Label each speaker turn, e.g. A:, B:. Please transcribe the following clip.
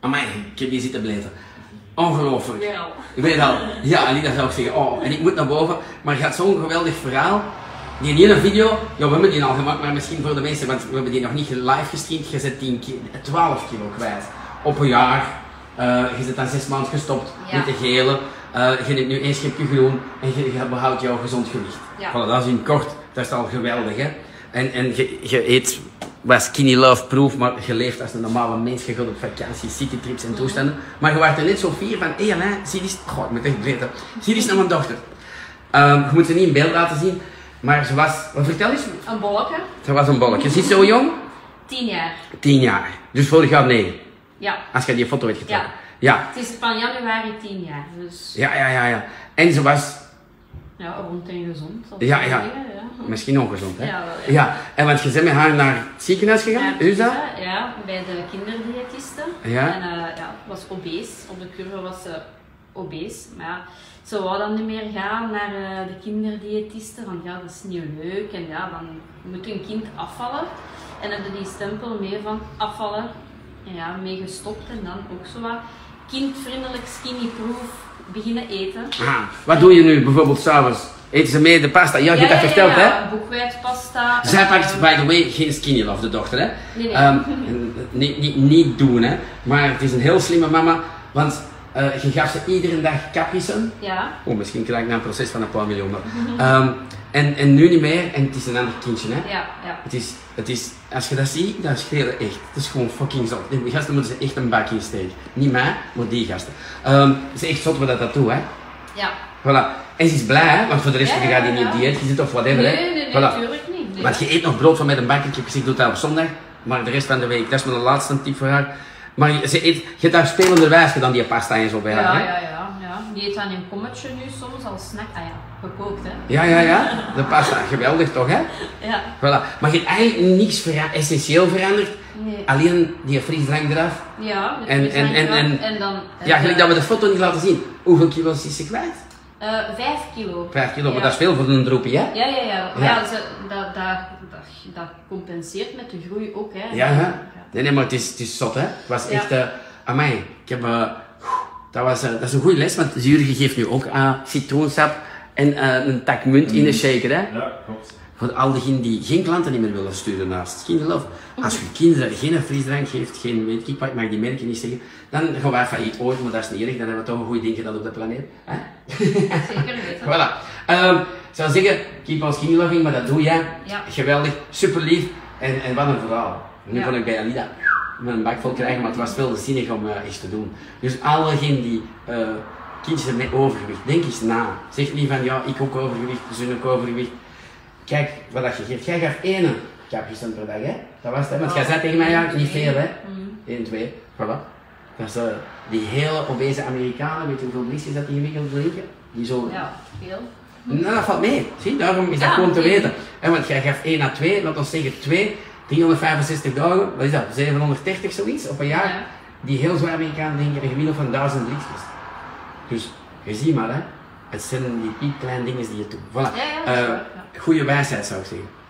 A: Amai, ik heb geen zitten blijven. Ongelooflijk.
B: Weer al.
A: Ik weet al. Ja, Anita zou ik zeggen, oh, en ik moet naar boven. Maar het gaat zo'n geweldig verhaal. Die hele video, ja, we hebben die al gemaakt, maar misschien voor de mensen, want we hebben die nog niet live gestreamd. Je zet 10 ki- 12 kilo kwijt op een jaar. Eh, je zit dan 6 maanden gestopt
B: Ja.
A: met de gele. Eh, je neemt nu één schipje groen en je, je behoudt jouw gezond gewicht.
B: Ja.
A: Voilà, dat is in kort, dat is al geweldig. Hè? En, en je, je eet was skinny love proof, maar je leeft als een normale mens. Je gaat op vakantie, citytrips en toestanden. Maar je wordt er net zo fier van, hé Alain, zie die... Goh, ik moet echt weten. Zie die is naar mijn dochter. Ehm, je moet ze niet in beeld laten zien, maar ze was... Wat vertel eens?
B: Een bolletje.
A: Ze was een bolletje. Ze is zo jong?
B: 10 jaar.
A: Tien jaar. Dus vorig jaar negen.
B: Ja.
A: Als je die foto hebt getrokken. ja.
B: Het is van januari 10 jaar. Dus
A: Ja, ja, ja, ja. En ze was
B: ja, rond en gezond.
A: Ja,
B: dat zou ik
A: ja.
B: zeggen, ja.
A: Misschien ongezond, hè?
B: Hm. Ja, wel, ja.
A: en want je bent met haar naar het ziekenhuis gegaan,
B: Ja,
A: is dat?
B: Ja, bij de kinderdiëtiste.
A: Ja.
B: En eh, ja, was obese. Op de curve was ze obese. Maar ja, ze wou dan niet meer gaan naar eh, de kinderdiëtiste. Van ja, dat is niet leuk. En ja, dan moet een kind afvallen. En hebben die stempel mee van afvallen. En ja, mee gestopt. En dan ook zo wat kindvriendelijk skinny proof beginnen eten.
A: Aha. Ah, Wat doe je nu bijvoorbeeld s'avonds? Eten ze mee de pasta? Ja, je hebt dat verteld,
B: ja,
A: hè?
B: Boekwijdpasta.
A: Zij
B: eh,
A: pakt, by the way, geen skinny love, de dochter, hè?
B: Nee, nee.
A: Ehm, niet, niet, niet doen, hè? Maar het is een heel slimme mama, want eh, je gaf ze iedere dag capricen.
B: Ja.
A: Oh, misschien krijg ik na een proces van een paar miljoen. maar- Ehm, en, en nu niet meer, en het is een ander kindje, hè?
B: Ja, ja.
A: Het is, het is, als je dat ziet, dat schelen echt. Het is gewoon fucking zot. Die gasten moeten ze echt een bak insteken. Niet mij, maar die gasten. Ehm, het is echt zot wat dat dat doet, hè.
B: ja.
A: Voilà. En ze is blij, hè, want voor de rest
B: Ja,
A: je gaat die
B: ja,
A: niet op
B: ja.
A: dieet, je zit of whatever,
B: Nee,
A: hè.
B: nee, nee,
A: Voilà.
B: natuurlijk niet. nee.
A: Want je eet nog brood van met een bak. Ik heb gezegd, doe dat op zondag. Maar de rest van de week, dat is mijn laatste tip voor haar. Maar je- ze eet, je hebt daar spelenderwijs gedaan, die pasta en zo bij haar,
B: Ja,
A: hè.
B: ja, ja, ja. Die eet dan een kommetje nu soms als snack. Ah ja, gekookt hè.
A: Ja, ja, ja. De pasta. Geweldig toch, hè?
B: Ja.
A: Voilà. Maar je hebt eigenlijk niks vera- essentieel veranderd.
B: Nee.
A: Alleen die frisdrank eraf.
B: Ja, dus
A: En-
B: we zijn
A: en- en-
B: gewoon-
A: en-
B: en dan...
A: Ja, gelijk dat we de foto niet laten zien. Hoeveel kilo's is ze kwijt?
B: eh, vijf kilo.
A: Vijf kilo, maar
B: Ja.
A: dat is veel voor een droepie, hè?
B: Ja, ja, ja. Maar
A: Ja.
B: ja, ze- dat, dat, dat, dat compenseert met de groei ook hè.
A: Ja, hè? Nee, nee, maar het is, het is zot, hè? Het was
B: Ja.
A: echt... eh amai, ik heb... eh, dat, was, eh, dat is een goede les, want Jurgen geeft nu ook aan citroensap en eh, een tak munt in de shaker, hè?
C: Mm. Ja, klopt.
A: Voor al diegenen die geen klanten niet meer willen sturen naast Kinderlof.
B: Oh.
A: Als je kinderen geen frisdrank geeft, geen weet ik wat, ik mag die merken niet zeggen, dan gaan wij failliet ooit, maar dat is niet erg, dan hebben we toch een goed ding gedaan op de planeet. Hè?
B: Zeker weten.
A: Voilà. Ehm, ik zou zeggen, keep on skinny loving, maar dat doe jij.
B: Ja.
A: Geweldig, super lief en, en wat een verhaal. Nu
B: Ja.
A: kon ik bij Alida mijn bak vol krijgen, maar het was veel te zinnig om eh, iets te doen. Dus allegenen die eh kindjes hebben met overgewicht, denk eens na. Zeg niet van ja, ik ook overgewicht, zoon ook overgewicht. Kijk wat dat je geeft. Jij gaf één kapje per dag, hè? Dat was het, want
B: Oh.
A: jij zei tegen mij ja, niet veel, hè?
B: Mm.
A: Eén, twee, voilà. Dat is eh, die hele obese Amerikanen, weet je hoeveel blikjes dat die inmiddels drinken? Die zo
B: Ja, veel.
A: nou, dat valt mee. Zie, daarom is dat
B: Ja,
A: gewoon te
B: oké.
A: weten. En want jij geeft 1 à 2, laat ons zeggen 2, 365 dagen, wat is dat, 730 zoiets op een jaar,
B: Ja.
A: die heel zwaar Amerikanen denken een gemiddelde van 1000 liedjes. Dus je ziet maar, hè. het zijn die piepkleine dingen die je doet. Voilà.
B: ja, dat is
A: Eh,
B: waar,
A: Goede wijsheid zou ik zeggen.